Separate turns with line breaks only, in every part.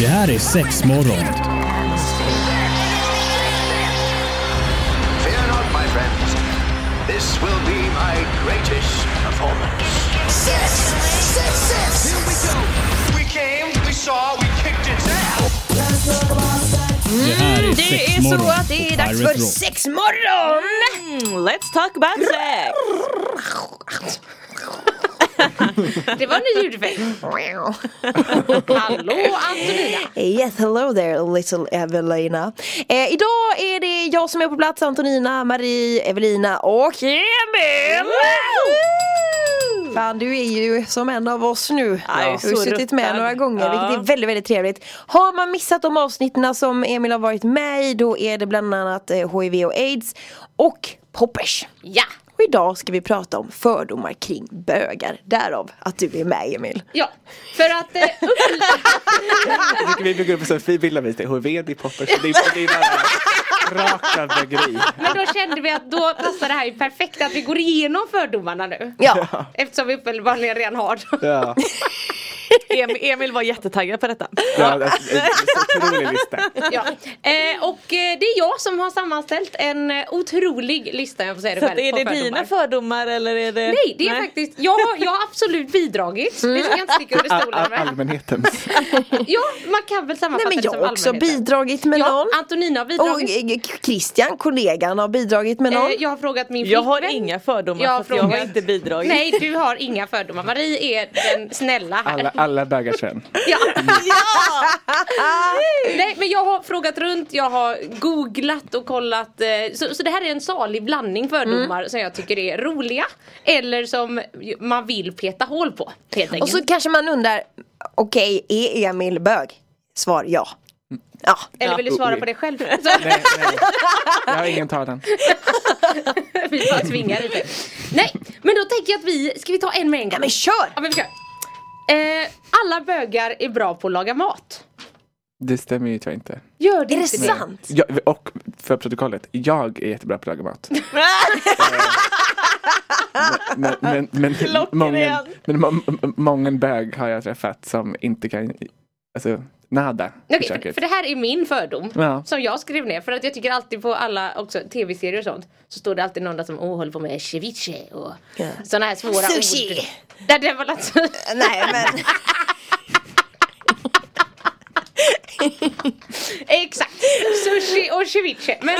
Det här är sex morgon.
Fear not, my friends. This will be my greatest performance.
Six, six, six.
We came, we saw, we kicked its ass.
Det här är sex
Mm, Det är
morgon
så att det
på
är dags
Pirate
för
Rock.
sexmorgon!
Mm,
let's talk about sex!
Det var en ny ljudeffekt. Hallå Antonina!
Yes, hello there little Evelina. Eh, idag är det jag som är på plats, Antonina, Marie, Evelina och Emil! Fan, du är ju som en av oss nu.
jag är
Du har
så
suttit med
ruttad.
några gånger,
Ja.
vilket är väldigt, väldigt trevligt. Har man missat de avsnitten som Emil har varit med i, då är det bland annat eh, HIV och AIDS och poppers.
Ja!
Och idag ska vi prata om fördomar kring bögar. Därav att du är med Emil.
Ja, för att eh,
Jag tycker vi bygger upp en sån fin bild av mig. Det är HIV, det är poppers, det är, det är bara raka bögeri.
men då kände vi att då passar det här ju perfekt att vi går igenom fördomarna nu.
Ja,
Eftersom vi uppenbarligen redan har dem.
Ja,
Emil, Emil var jättetaggad på detta.
ja alltså, en så otrolig lista.
Ja. Eh, och eh, det är jag som har sammanställt en eh, otrolig lista, jag får säga det
Så
själv.
att, är
på
det
fördomar.
dina fördomar eller är det?
Nej, det är faktiskt, jag, har- jag har absolut bidragit. Det ska jag inte sticka under
All,
stolen
all,
med.
allmänhetens.
Ja, man kan väl
Nej
sammanfatta
men
det
jag
som
har också
liksom allmänheten.
bidragit med
Ja,
någon.
Antonina har
Och
bidragit.
eh, Christian, kollegan, har bidragit med någon.
Eh, Jag har frågat min
Jag har
flickvän.
inga fördomar
Jag
jag, för att jag har
frågar-
inte bidragit.
Nej, du har inga fördomar. Marie är den snälla här.
Alla, alla bögars vän.
Ja. Nej, men jag har frågat runt, jag har googlat och kollat. eh, Så, så det här är en salig blandning fördomar
Mm.
som jag tycker är roliga. Eller som man vill peta hål på. Helt
Och
enkelt.
så kanske man undrar, okej är Emil bög? Svar ja. Ja.
Eller vill du svara på det själv? Så,
Nej, nej. Jag har ingen talan.
vi bara tvingar lite. Nej, men då tänker jag att vi, ska vi ta en med en gång?
Nej men kör!
Ja, men vi kör. Eh, alla bögar är bra på att laga mat.
Det stämmer ju tyvärr inte.
Gör det
Är det
inte
sant?
Jag, och för protokollet, jag är jättebra på att laga mat. Men, men, men, men, många, men må, må- många bög har jag träffat som inte kan, alltså nada. i
Okej, för,
köket.
för det här är min fördom
Ja.
som jag skrev ner. För att jag tycker alltid på alla också tv-serier och sånt så står det alltid någon där som oh, håller på med ceviche och
Ja.
sådana här svåra
Sushi.
ord. Nej, det var alltså,
Nej men
exakt, sushi och ceviche. Men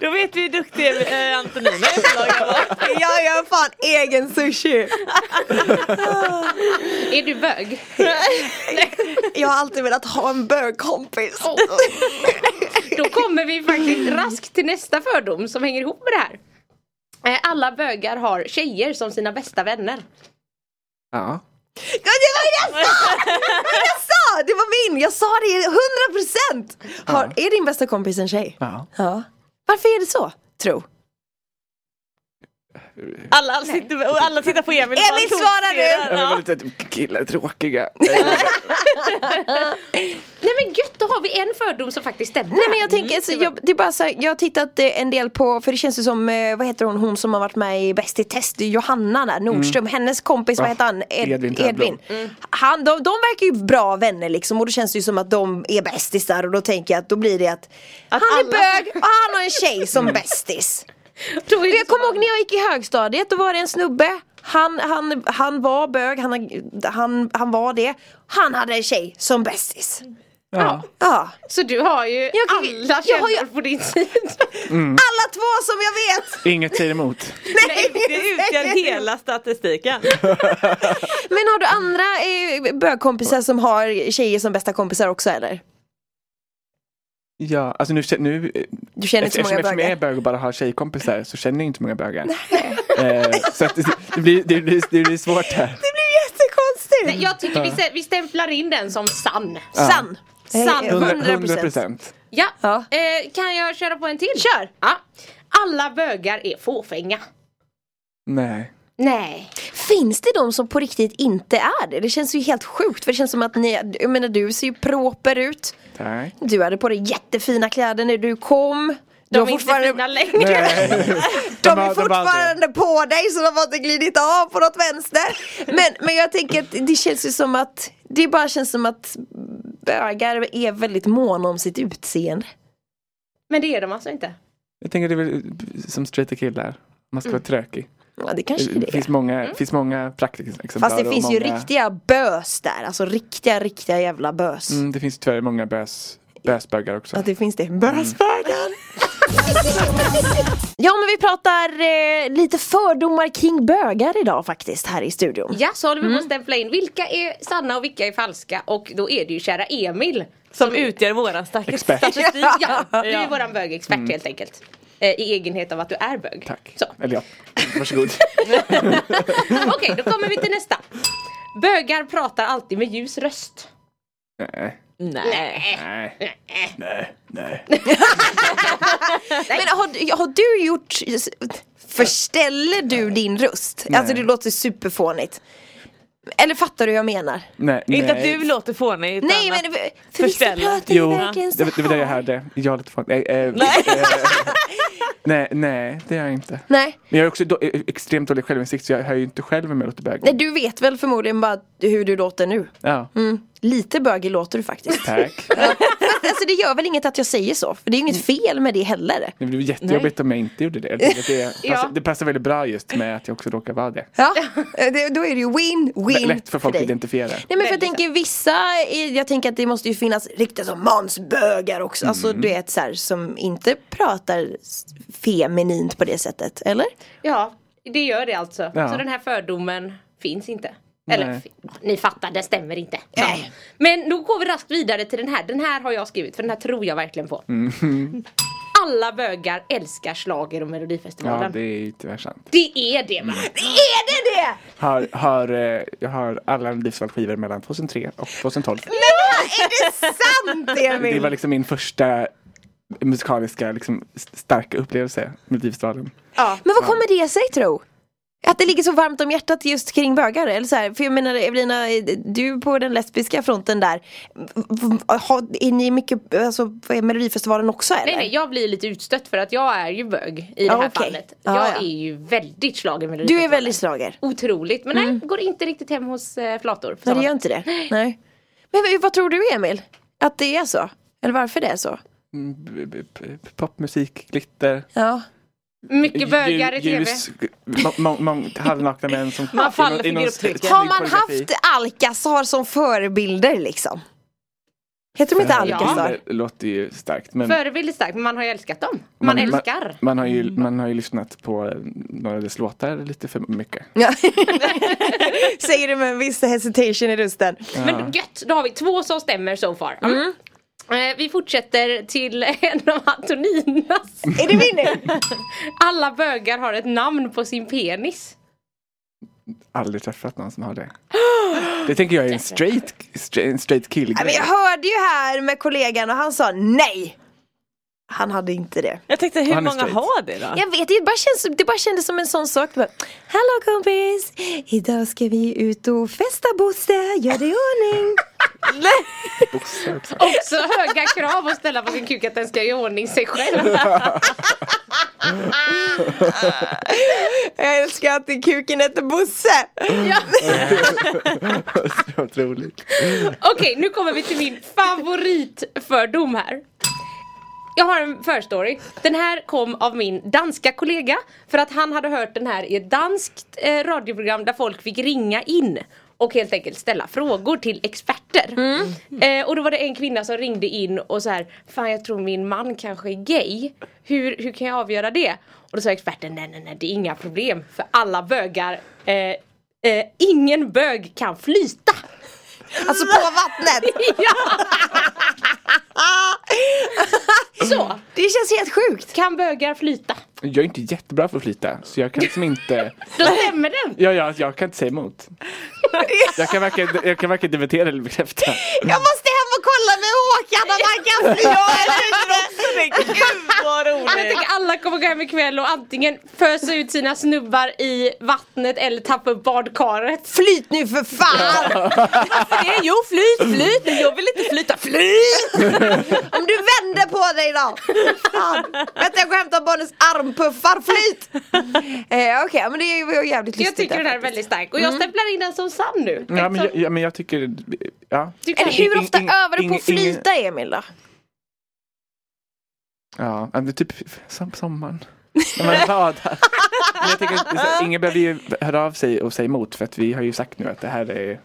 Då vet vi hur duktig eh, Antonina är på att laga mat.
jag gör fan egen sushi.
är du bög?
Jag har alltid velat ha en bögkompis.
Oh. Då kommer vi faktiskt raskt till nästa fördom som hänger ihop med det här. Eh, Alla bögar har tjejer som sina bästa vänner.
Ja.
Ja, det var ju det jag sa! Det var det jag sa! Det var min! Jag sa det hundra procent! Är din bästa kompis en tjej?
ja.
Ja. Varför är det så? Tro.
Alla, sitter, och alla tittar på Emil. och han
Emil, svara nu!
tokser.
Ja.
Ja.
Lite,
typ,
killar är tråkiga.
Nej men gött, då har vi en fördom som faktiskt stämmer.
Nej men jag tänker, så jag, det är bara så här, jag har tittat eh, en del på, för det känns ju som, eh, vad heter hon, hon som har varit med i Bäst i test, Johanna
Mm.
där, Nordström, hennes kompis,
Ah,
vad
Ja,
heter han? Ed,
Edvin Törnblom.
Edvin. Han, de, de verkar ju bra vänner liksom och då känns det ju som att de är bästisar och då tänker jag att då blir det att, han är
alla- Mm.
bög och han har en tjej som bästis.
Då är
Och
det
jag
så-
kommer ihåg när jag gick i högstadiet, då var det en snubbe han, han, han var bög, han, han, han var det. Han hade en tjej som bästis.
Ja.
Ja.
Så du har ju
Jag-
alla
jag har
källor
ju-
på din sida.
Alla två som jag vet!
Inget säger emot.
Nej,
Det utgör hela statistiken.
Men har du andra eh, bögkompisar som har tjejer som bästa kompisar också eller?
Ja, alltså nu, kän- nu
Du känner inte så
eftersom,
många
eftersom jag är
bögar?
bög och bara har tjejkompisar så känner jag inte så många bögar. Eh, så att det, det, blir, det, blir, det blir svårt här.
Det blir jättekonstigt!
Jag tycker vi, se- vi stämplar in den som sann.
Sann!
Sann.
Eh,
100
procent.
procent.
Ja,
Ja.
Eh, kan jag köra på en till? Kör! Ja. Alla bögar är fåfänga.
Nej.
Nej.
Finns det de som på riktigt inte är det? Det känns ju helt sjukt för det känns som att ni, jag menar du ser ju proper ut
Tack.
Du hade på dig jättefina kläder när du kom Du
De
har
är inte
fortfarande-
fina längre.
Nej.
De
bara-
är
de bara så här,
fortfarande på dig så de har inte glidit av på något vänster. Men, men jag tänker att det känns ju som att det bara känns som att bögar är väldigt måna om sitt utseende.
Men det är de alltså inte.
Jag tänker det är väl som straighta killar. Man ska vara trökig.
Ja det kanske
Det
Mm. det är.
finns många, finns många praktikexemplar.
Fast det
och
finns ju
många-
riktiga bös där, alltså riktiga riktiga jävla bös.
Mm, det finns tyvärr många bös, bösbögar också.
Ja det finns det. Bösbögen!
Mm.
ja men vi pratar eh, lite fördomar kring bögar idag faktiskt här i studion.
Ja, så håller vi på att stämpla in. Vilka är sanna och vilka är falska? Och då är det ju kära Emil.
Som utgör våran stackars
Expert.
statistik.
Ja, du är
Ja.
våran bögexpert helt enkelt. Eh, I egenhet av att du är bög.
Tack.
Så.
Eller ja, varsågod.
Okej, då kommer vi till nästa. Bögar pratar alltid med ljus röst.
nej,
Nej.
nej, nej, nej.
Men har, du- har du gjort, förställer du din röst? Alltså det låter superfånigt. Eller fattar du hur jag menar?
nej, nej.
Inte att du låter fånig. utan
Nej
att-
men för- för vissa
Förställer.
pratar ju
Jo,
verkligen
det,
så
var- det var det jag
här.
hörde. Jag är lite fan. Nej, eh, eh, nej, nej, det är jag inte.
Nej.
Men jag är också då, eh, extremt dålig självinsikt så jag hör ju inte själv om jag låter bög.
Nej, Mm. du vet väl förmodligen bara hur du låter nu?
Ja,
Lite bögig låter du faktiskt.
tack.
alltså det gör väl inget att jag säger så, för det är ju inget fel med det heller.
Det blev jättejobbigt om jag inte gjorde det. Jag tycker att Det,
Ja.
passar, det passar väldigt bra just med att jag också råkar vara det.
Ja, Eh, det, då är det ju win-win
Lätt för folk att
dig.
identifiera.
Nej men för jag
Väldigt
tänker vissa, är- jag tänker att det måste ju finnas riktiga som mansbögar också. Alltså du vet så här, som inte pratar s- feminint på det sättet, eller?
Ja, det gör det alltså.
Ja.
Så den här fördomen finns inte. Eller
Nej.
fi- ni fattar, det stämmer inte. Nej. Men då går vi raskt vidare till den här. Den här har jag skrivit för den här tror jag verkligen på.
Mm.
Alla bögar älskar slager och melodifestivalen.
Ja, det
det...
är ju tyvärr sant.
är det
Mm.
va?
Är det det?
Har, har, eh, jag har alla livsvalsskivor mellan 2003 och 2012.
Är det sant Emil?
Det var liksom min första musikaliska liksom, st- starka upplevelse med Livsdalen.
Men vad kommer det sig tro? Att det ligger så varmt om hjärtat just kring bögar? Eller så här, för jag menar Evelina, du på den lesbiska fronten där. v- har- Är ni mycket, alltså är Melodifestivalen också eller?
Nej, nej, jag blir lite utstött för att jag är ju bög i det
Ja,
här
okej.
fallet.
Ja,
jag
ja.
är ju väldigt slagen med
Du är väldigt slager.
Otroligt, men nej, går inte riktigt hem hos eh, flator.
Nej det gör inte det. Nej. Men vad- vad tror du Emil? Att det är så? Eller varför det är så?
Mm, B- b- b- Popmusik, glitter,
Ja.
Mycket bögar i
ljus,
tv.
g- må- må- må- halvnakna män som...
Man faller
i någon-
för
i någon
grupptrycket.
snygg
Har man
koreografi.
haft alkasar som förebilder liksom? Heter de inte alkasar?
Det låter ju starkt. Men
Förebild är starkt, men man har ju älskat dem. Man, älskar.
Man, man, har ju, man har ju lyssnat på eh, några av dess låtar lite för mycket.
Ja. Säger du med en viss hesitation i rösten.
Men gött, då har vi två som stämmer so far. Ja. Eh, Vi fortsätter till en av Antoninas.
Är det min nu?
Alla bögar har ett namn på sin penis.
Aldrig träffat någon som har det. Det tänker jag är en straight, stra- en straight kill
Ja, Men jag hörde ju här med kollegan och han sa nej. Han hade inte det.
Jag tänkte hur
Han är
många
straight.
har det då?
Jag vet, det bara, känns, det bara kändes som en sån sak. Det Bara, Hallå kompis, idag ska vi ut och festa Bosse, gör dig i ordning.
Också höga krav att ställa på sin kuk att den ska göra i ordning sig själv.
Jag älskar att det kuken heter Bosse.
Så otroligt.
Okej, nu kommer vi till min favoritfördom här. Jag har en förstory. Den här kom av min danska kollega för att han hade hört den här i ett danskt eh, radioprogram där folk fick ringa in och helt enkelt ställa frågor till experter. Eh, och då var det en kvinna som ringde in och så här, fan jag tror min man kanske är gay. Hur, hur kan jag avgöra det? Och då sa experten, nej nej nej det är inga problem för alla bögar, eh, eh, ingen bög kan flyta.
Alltså på vattnet.
Ja! Så,
Det känns helt sjukt.
kan bögar flyta?
Jag är inte jättebra för att flyta, så jag kan liksom inte...
Då stämmer den!
Ja, ja, jag kan inte säga emot. Jag kan varken, jag kan varken debattera eller bekräfta.
Jag måste hem och kolla med
kan ha tankat!
Gud vad
Jag
roligt!
tänker alla kommer gå hem ikväll och antingen fösa ut sina snubbar i vattnet eller tappa upp badkaret.
Flyt nu för fan!
Varför det? Jo flyt, flyt! Men jag vill inte flyta, flyt!
Om du vänder på dig då! Fan. Vänta jag går och hämtar barnens armpuffar, flyt! Eh, Okej, ja, men det är ju jävligt
Jag
lustigt.
tycker
där.
den här är väldigt stark och jag stämplar in den som sann nu. Liksom.
Ja, men,
Så-
jag, ja, men jag tycker... Ja.
Du kan-
Eller hur
Ing-
ofta
ing-
övar du på att
ing- ingen-
flyta Emil då?
Ja, ja, men typ som sommaren. När man badar. Men jag tänker, att det är så här, ingen behöver ju höra av sig och säga emot för att vi har ju sagt nu att det här är...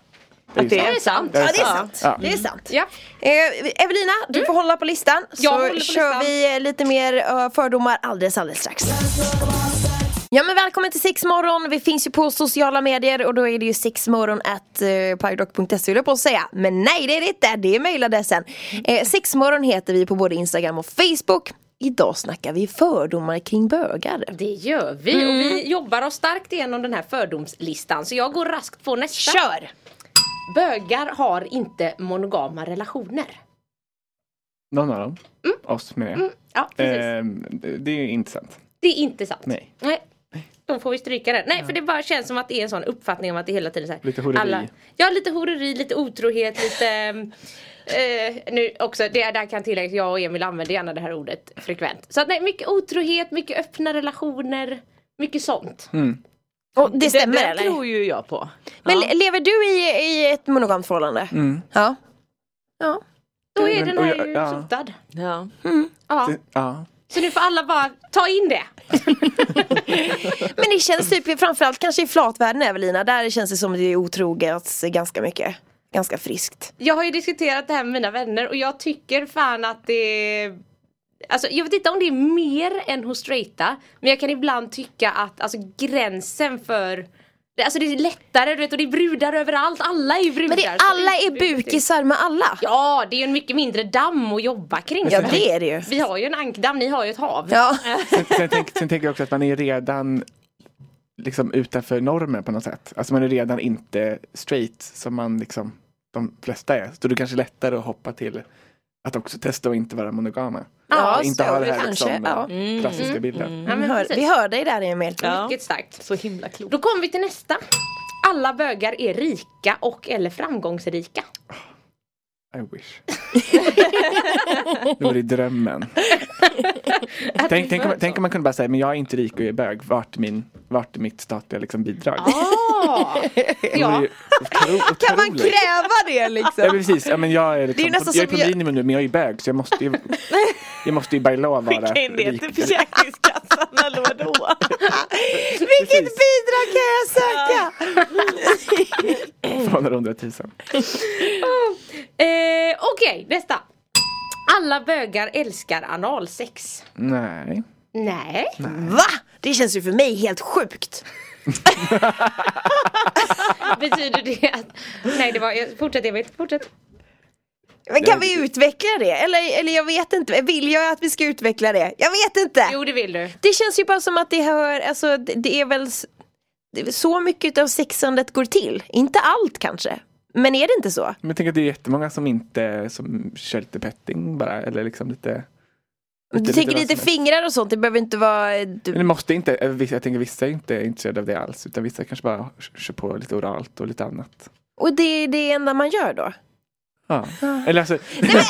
Det är ju
Det
sant.
är sant.
Det är
Ja det är sant.
sant. Ja.
Det är sant.
Ja. Mm.
Eh, Evelina, du får hålla på listan.
Jag
så
håller på
kör
listan.
vi eh, lite mer eh, fördomar alldeles alldeles strax. Ja men välkommen till Sexmorgon, vi finns ju på sociala medier och då är det ju sexmorgon at eh, pyrodoc.se vill jag på att säga. Men nej det är det inte, det är mailadressen. Eh, sexmorgon heter vi på både Instagram och Facebook. Idag snackar vi fördomar kring bögar.
Det gör vi och vi jobbar oss starkt igenom den här fördomslistan så jag går raskt på nästa.
Kör!
Bögar har inte monogama relationer.
Någon av dem.
Mm.
Oss med jag.
Ja, precis.
Ehm, det- det är ju inte sant.
Det är inte sant.
Nej.
Då får vi stryka den. Nej, för det bara känns som att det är en sån uppfattning om att det hela tiden är så här.
Lite horeri.
ja, lite horeri, lite otrohet, lite... eh, nu också, det där kan tilläggas, jag och Emil använder gärna det här ordet frekvent. Så att, nej, mycket otrohet, mycket öppna relationer, mycket sånt.
Mm.
Och det stämmer
den, den
eller?
tror ju jag på.
Men le- lever du i, i ett monogamt förhållande?
Mm.
Ja. Ja.
Då är
Men-
den
och
här
jag-
ju
ja.
sotad.
Ja.
Ja,
Det- Ja.
så nu får alla bara ta in det.
Men det känns typ framförallt kanske i flatvärlden Evelina, där känns det som att det är otroget ganska mycket. Ganska friskt.
Jag har ju diskuterat det här med mina vänner och jag tycker fan att det Alltså jag vet inte om det är mer än hos straighta Men jag kan ibland tycka att alltså gränsen för det- Alltså det är lättare du vet och det är brudar överallt, alla är ju brudar
Men det,
så
alla
det
är bukisar med alla.
Ja det är ju en mycket mindre damm att jobba kring
Ja det är det ju.
Vi har ju en ankdamm, ni har ju ett hav
Ja.
Sen, sen, tänk, sen tänker jag också att man är redan liksom utanför normen på något sätt. Alltså man är redan inte straight som man liksom de flesta är. Så då är det kanske lättare att hoppa till att också testa att inte vara monogama.
Ja,
Och inte
så
ha det här
kanske,
liksom,
ja.
eh, klassiska bilden.
Ja, men
Vi hör,
precis.
vi hör dig där Emil.
Ja.
Mycket starkt
Så himla klokt.
Då kommer vi till nästa Alla bögar är rika och eller framgångsrika
I wish. det vore drömmen. tänk, tänk, om, tänk om man kunde bara säga, men jag är inte rik och jag är bög. Vart är, min, vart är mitt statliga liksom, bidrag?
ah,
Det vore
ja.
ju otro,
Kan man
otroligt.
kräva det
Ja
liksom?
precis, ja, men jag är, liksom,
Det är ju nästan
jag är på
som jag-
minimum nu men jag är ju bög så jag måste ju Jag måste ju by law vara
Skicka in det
rik.
till Försäkringskassan eller vadå?
Vilket bidrag kan jag söka?
200 000
Eh, Okej, nästa. Alla bögar älskar analsex.
Nej
Nej.
Va? Det känns ju för mig helt sjukt.
Betyder det att... Nej, det var... jag- Fortsätt Emil, fortsätt.
Men kan vi utveckla det? Eller, eller jag vet inte, vill jag att vi ska utveckla det? Jag vet inte!
Jo, det vill du.
Det känns ju bara som att det hör, alltså det, det är väl s- det är väl så mycket av sexandet går till. Inte allt kanske. Men är det inte så?
Men jag tänker att det är jättemånga som inte som kör lite petting bara eller liksom lite
Du
lite
tänker
vad
lite
som helst.
fingrar och sånt, det behöver inte vara...
Men
Du,
det måste inte, eh, vissa- jag tänker vissa är inte intresserade av det alls utan vissa kanske bara kör på lite oralt och lite annat
och det är det enda man gör då?
Ja, eller alltså
Så tragiskt.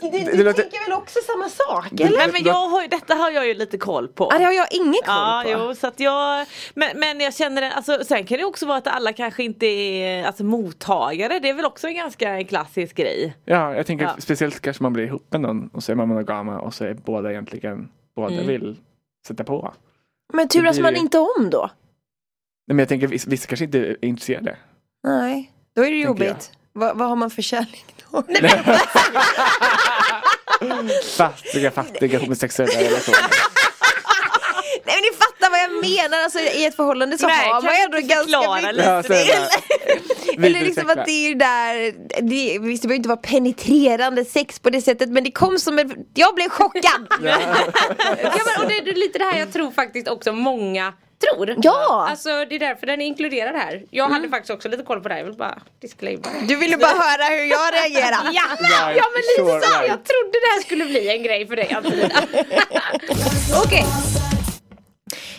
det- det låter-
väl också samma sak?
Nej men jag har ju, detta har jag ju lite koll på.
Ja, det har jag ingen koll
Ja,
på.
jo, så att jag, men, men jag känner det, alltså, sen kan det också vara att alla kanske inte är alltså, mottagare, det är väl också en ganska klassisk grej.
Ja, jag tänker
Ja.
speciellt kanske man blir ihop med någon och så är man monogama och så är båda egentligen, båda vill sätta på.
Men turas man inte om då?
Nej, men jag tänker vissa, vissa kanske inte är intresserade.
Nej, då är det
Tänker
jobbigt. Vad- vad har man för kärlek då?
Fattiga, fattiga homosexuella relationer.
Nej men ni fattar vad jag menar, alltså i ett förhållande så
Nej,
har
kan
man
du
ändå
inte förklara
ganska mycket
lite?
Ja, så är det.
Eller liksom att det är ju där, det, visst det behöver inte vara penetrerande sex på det sättet men det kom som en, jag blev chockad!
Ja, men, och det är lite det här jag tror faktiskt också många tror.
Ja!
Alltså det är därför den är inkluderad här. Jag hade faktiskt också lite koll på det här, jag vill bara disclaimer.
Du ville bara höra hur jag reagerar.
Ja,
Right,
ja men lite
sure,
så.
right.
Jag trodde det här skulle bli en grej för dig Antonina. Okej.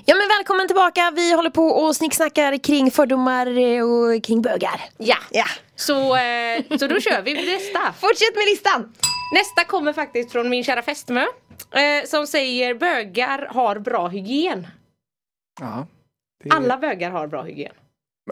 Ja men välkommen tillbaka, vi håller på och snicksnackar kring fördomar eh, och kring bögar.
Ja.
Ja.
Så, eh, så då kör vi nästa.
Fortsätt med listan!
Nästa kommer faktiskt från min kära fästmö. Eh, som säger bögar har bra hygien.
Ja. Det är-
Alla bögar har bra hygien.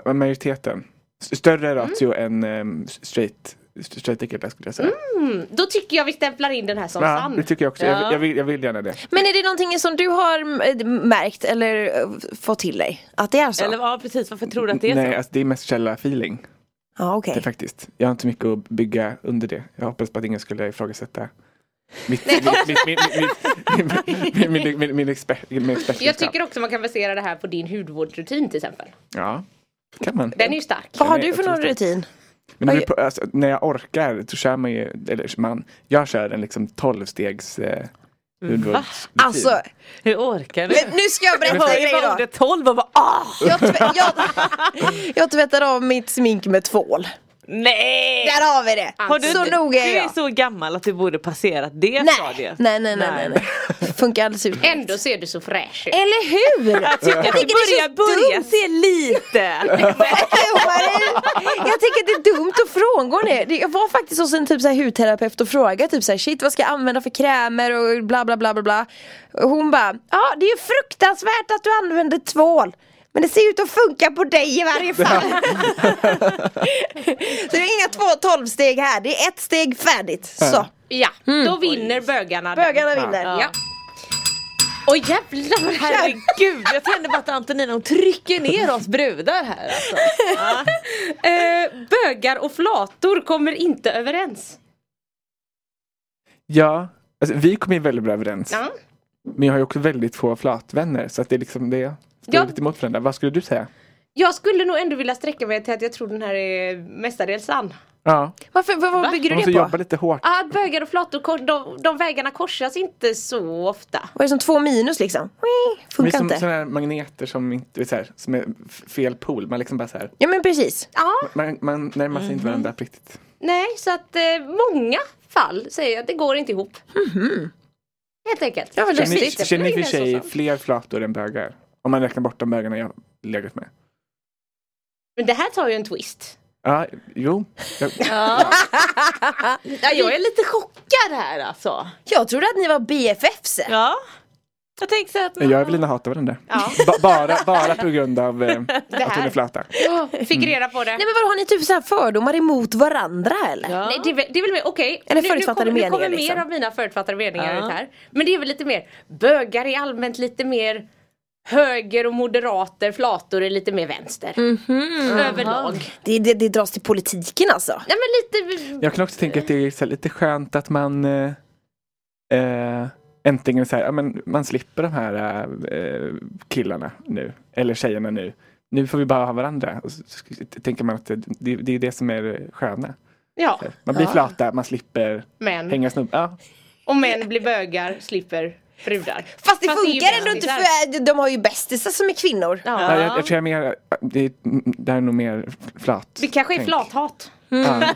Ma- Majoriteten. S- Större ratio än ehm, straight, straighta killar skulle jag säga.
Mm, då tycker jag vi stämplar in den här som
Ja,
sann.
det tycker jag också.
Ja.
Jag, jag, vill, jag vill gärna det.
Men är det någonting som du har eh, märkt eller eh, fått till dig? Att det är så?
Eller ja precis, varför tror du att det är
Nej,
så?
alltså, det är mest källa-feeling
Ja okej.
det faktiskt. Jag har inte mycket att bygga under det. Jag hoppas på att ingen skulle ifrågasätta mitt, mitt, mitt, mitt, mitt, mitt, min, min, min, min, expert, min expertkunskap.
Jag tycker också man kan basera det här på din hudvårdsrutin till exempel.
Ja, det kan man.
Den är ju stark.
Vad har
Nej,
du
jag
för
tror
någon
det.
rutin?
Men när, vi, pr- alltså, när jag orkar så kör man ju, eller man, jag kör en liksom 12-stegs eh, hudvårdsrutin.
Alltså,
Hur orkar du?
men nu ska jag
Jag
berätta en
hörde
grej
bara
då.
ordet 12 och bara ah!
Jag, tv- jag, jag tvättar av mitt smink med tvål.
Nej!
Där har vi det!
Har du
så
inte-
noga Alltså, är
Du är
jag.
så gammal att du borde passerat det
Nej.
stadiet.
Nej, nej, nej, nej, nej. Det funkar alldeles utmärkt.
Ändå ser du så fräsch
Eh,
ut.
Eller hur?
Jag tycker att du
tycker det
börjar,
känns
börja
dumt.
se lite.
Jo, Marie, Jag tänker att det är dumt att frångå det. Det- Jag var faktiskt hos en typ så här hudterapeut och frågade typ så här, shit vad ska jag använda för krämer och bla bla bla bla bla. Och hon bara, ja det är ju fruktansvärt att du använder tvål. Men det ser ut att funka på dig i varje fall. så det är inga två tolvsteg här, det är ett steg färdigt. Så,
Ja,
mm.
då vinner bögarna. den.
bögarna vinner.
Ja. Och jävlar vad det här är
Herregud, jag kände bara att Antonina hon trycker ner oss brudar här alltså.
Eh, bögar och flator kommer inte överens.
Ja, alltså, vi kommer ju väldigt bra överens.
Ja.
Men jag har ju också väldigt få flatvänner så att det är liksom det står
Ja.
lite emot varandra. Vad skulle du säga?
Jag skulle nog ändå vilja sträcka mig till att jag tror den här är mestadels sann.
Ja,
Varför, vad, vad bygger
man
du
måste
det på?
jobba lite hårt.
Ja, Att bögar och flator, kor- de, de vägarna korsas inte så ofta.
Vad är det som två minus liksom?
Det är
Funkar
som
inte.
sådana här magneter som, inte, så här, som är f- fel pol. Man liksom bara så här,
Ja men precis.
Ja,
man, man närmar sig inte
Mhm.
varandra på riktigt.
nej, så att eh, många fall säger att det går inte ihop. Mhm. Helt enkelt.
Ja, vad
Känner-
lustigt.
stämmer
Känner ni för
inte ens så.
sig fler flator än bögar? Om man räknar bort de bögarna jag legat med.
Men det här tar ju en twist.
Ja, jo. Jag,
Ja, jag är lite chockad här alltså.
Jag trodde att ni var BFFs.
Ja. Jag tänkte så att man...
jag och Evelina hatar varandra.
Ja.
Ba bara, bara på grund av eh, att hon
här.
är flata.
Fick reda på det.
Nej men vadå, har ni typ så här fördomar emot varandra eller?
Ja.
Nej, det, är väl- det är väl mer, okej.
Eller
nu-
förutfattade
nu kommer, Nu
meningar,
kommer
liksom.
mer av mina förutfattade meningar
Ja.
ut här. Men det är väl lite mer, bögar är allmänt lite mer höger och moderater, flator är lite mer vänster.
Mhm.
Överlag.
Det, det, det dras till politiken alltså.
Nej men lite,
Jag kan också tänka att det är så här, lite skönt att man eh, eh, äntligen så här, ja, men man slipper de här eh, killarna nu, eller tjejerna nu. Nu får vi bara ha varandra. Och så, så tänker man att det, det, det är det som är det sköna.
ja,
Man blir flata, man slipper
män.
hänga snubb. Ja,
Och män blir bögar, slipper brudar.
Fast det
Fast det är ju
funkar ändå inte
bästisar.
för eh, de har ju bästisar som är kvinnor.
Ja.
Ja, jag, jag tror jag är mer, det, är- det här är nog mer flat.
Det kanske är
tänk.
flathat.
Ja.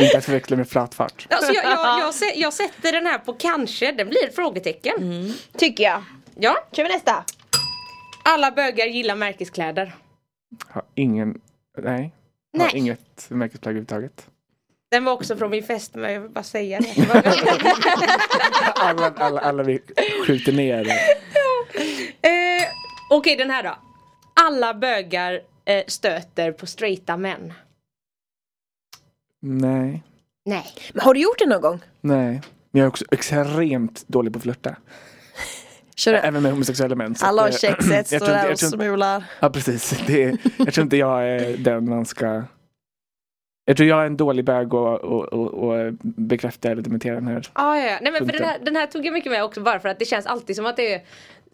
Inte att förväxla med flatfart.
Alltså jag, jag, jag, sä- jag sätter den här på kanske, den blir ett frågetecken.
Mm. Tycker jag.
Ja,
Kör vi nästa?
alla bögar gillar märkeskläder.
Har ingen, nej. Har
Nej.
inget märkesplagg överhuvudtaget.
Den var också från min fest, men jag vill bara säga det.
Alla, alla, alla vi skjuter ner.
Eh, Okej den här då. Alla bögar eh, stöter på straighta män.
Nej,
Nej.
Men har du gjort det någon gång?
nej. Men jag är också extremt dålig på att flirta.
Kör du?
Även med homosexuella män. så
Alla har
att, eh,
sexet,
jag
står
tror inte-
där
jag
och
tror inte-
smular.
Ja, precis. Det är, jag tror inte jag är den man ska... Jag tror jag är en dålig bög och, och, och, och bekräfta eller dementera den här.
Ah, ja, ja. Nej, men för
Funkar.
den, här, den här tog jag mycket med också bara för att det känns alltid som att det är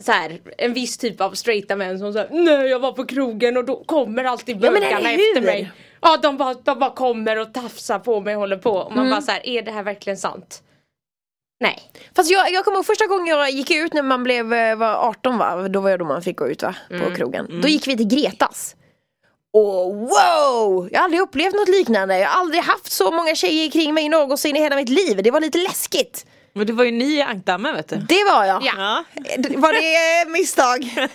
så här, en viss typ av straighta män som säger Nej jag var på krogen och då kommer alltid
Ja, men
bögarna
eller hur?
efter mig. Ja de
Mm.
bara, de bara kommer och tafsar på mig och håller på. Och man bara så här, är det här verkligen sant? Nej.
Fast jag, jag kommer ihåg första gången jag gick ut när man blev eh, var 18 va? Då var jag då man fick gå ut va? På
Mm.
krogen. Då gick vi till Gretas. Och wow! Jag har aldrig upplevt något liknande. Jag har aldrig haft så många tjejer kring mig någonsin i hela mitt liv. Det var lite läskigt.
Men det var ju ni i ankdammen vet du.
Det var jag.
Ja.
Eh, Var det eh, misstag?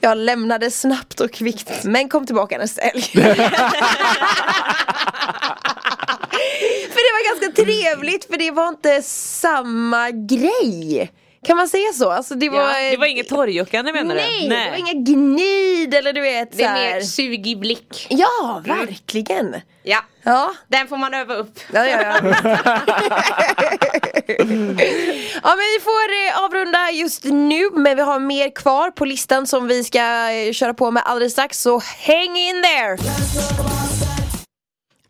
jag lämnade snabbt och kvickt men kom tillbaka nästa helg. för det var ganska trevligt för det var inte samma grej. Kan man säga så? Alltså det var,
Ja. Det var inget torrjuckande menar du?
Nej, det var inga gnid eller du vet
Det är
såhär.
mer sug i blick.
Ja, verkligen.
Ja.
Ja,
Den får man öva upp.
Ja, ja, ja. ja men vi får eh, avrunda just nu men vi har mer kvar på listan som vi ska eh, köra på med alldeles strax så häng in there!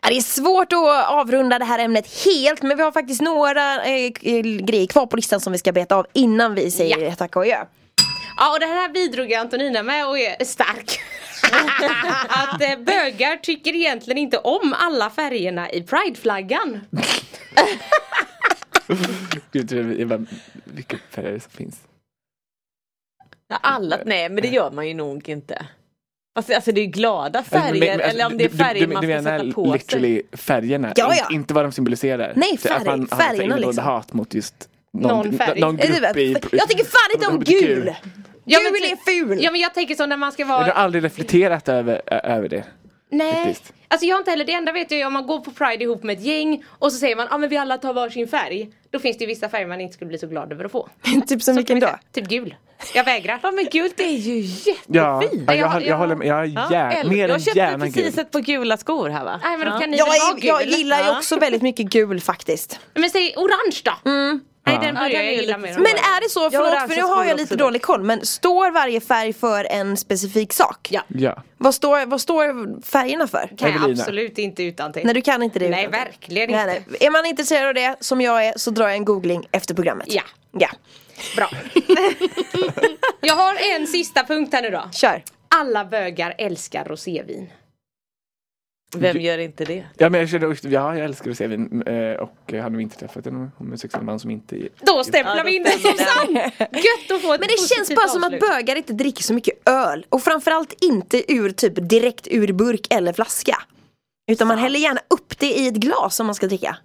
Ja, Det är svårt att avrunda det här ämnet helt men vi har faktiskt några eh, eh, grejer kvar på listan som vi ska beta av innan vi säger tack och adjö.
Ja och det här bidrog ju Antonina med och är stark. att eh, bögar tycker egentligen inte om alla färgerna i prideflaggan.
Gud, det är bara, vilka färger som finns.
Ja, alla, nej men det gör man ju nog inte. Alltså, alltså det är ju glada färger
Alltså, men- men, alltså,
eller om det är
du- du-
färger
du,
man
du
ska
menar
sätta på sig.
literally färgerna,
Ja, ja.
Inte, inte vad de symboliserar.
Nej,
Så Att
färg-
man har ett
färgerna
inneboende
liksom.
hat mot just
Någon
någon,
färg.
någon
Är det
grupp
väl-
i...
Jag tycker fan inte om
HBTQ.
gul!
Ja, men
Gul
ty-
är ful!
Ja men jag tänker så när man ska
Men
vara
du har aldrig reflekterat över, ö- över det?
Nej,
Faktiskt.
alltså jag har inte heller, det enda vet jag är om man går på Pride ihop med ett gäng och så säger man ah, men vi alla tar varsin färg. Då finns det ju vissa färger man inte skulle bli så glad över att få.
typ som vilken
Till
då?
exempel, Typ gul. Jag vägrar.
Ja men gult det är ju jättefint.
Ja, ja,
Jag-
jag, jag,
jag-
jag håller med. Jag är
Ja,
gär,
eller-
mer
jag
än
köpte
gärna gul.
precis ett par gula skor här va?
Nej men då kan ni
Jag,
väl vara
är,
gul.
jag gillar ju
Ja.
också väldigt mycket gul faktiskt.
Men säg orange då! Nej den börjar
Ja, den är
jag
ju
gilla
lite
mer.
Men är det så,
Jag har
förlåt
orange
för nu har jag
skor
lite
också då.
dålig koll, men står varje färg för en specifik sak?
Ja.
Ja.
Vad står, vad står färgerna för?
kan jag
Evelina.
absolut inte utan till.
Nej du kan inte det
Nej,
utantill.
verkligen
Nej, nej. Är man intresserad av det, som jag är, så drar jag en googling efter programmet.
Ja.
Ja,
Bra. jag har en sista punkt här nu då.
kör.
Alla bögar älskar rosévin.
Vem gör inte det?
Ja, men jag, känner, också- ja, jag älskar att se vin eh, och jag hade nog inte träffat en homosexuell man som inte...
Då stämplar
Ja, då
vi in den som sann! Gött att få ett
Men det känns
positivt
bara som att
avslut.
bögar inte dricker så mycket öl och framförallt inte ur typ direkt ur burk eller flaska. Utan man häller gärna upp det i ett glas om man ska dricka.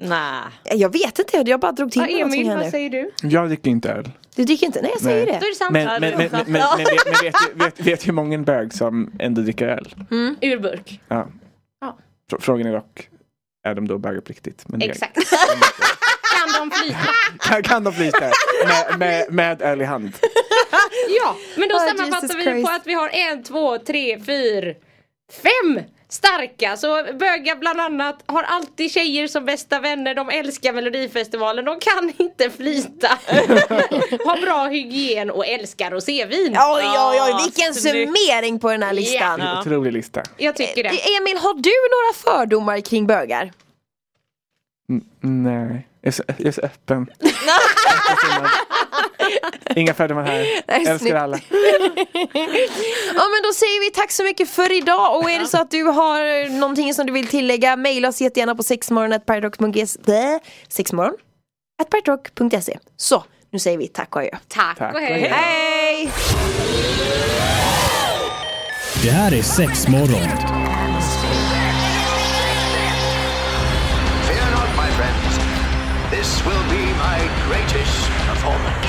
Nej.
Jag vet inte, jag bara drog till
Ja,
med någonting
Emil,
här
vad
nu.
säger du?
Jag dricker inte öl.
Du dricker inte? Nej jag säger
Nej.
det.
Då är det sant.
Men,
Ja,
men,
det
men,
är
men,
sant.
men, men vet, men vet, ju- vet, vet hur många bög som ändå dricker öl?
Ur burk.
Ja.
Ja.
Frå- Frågan är dock, är de då bögar på riktigt? Men det-
Exakt. kan de flyta?
Kan, kan de flyta med, med, med öl i hand?
Ja, men då
Oh,
sammanfattar
Jesus
vi
Christ.
på att vi har en, två, tre, fyra, fem starka. Så bögar bland annat har alltid tjejer som bästa vänner. De älskar Melodifestivalen. De kan inte flyta. har bra hygien och älskar rosévin.
Oj oj oj, vilken
snyggt.
summering på den här listan.
Det är en
Ja.
otrolig lista.
Jag tycker det.
Eh, Emil, har du några fördomar kring bögar?
Nej, jag är så, jag är så öppen. Inga fördomar här. Älskar
snyggt.
alla.
Ja men då säger vi tack så mycket för idag och är det så att du har någonting som du vill tillägga mejla oss jättegärna på sexmorgon.piratrock.se Sexmorgon? at piratrock.se. E. Så, nu säger vi tack och adjö.
Tack,
Tack
och
och
hej.
hej.
Hej!
Det här är sex morgon.
Fear not, my friends. This will be my greatest performance.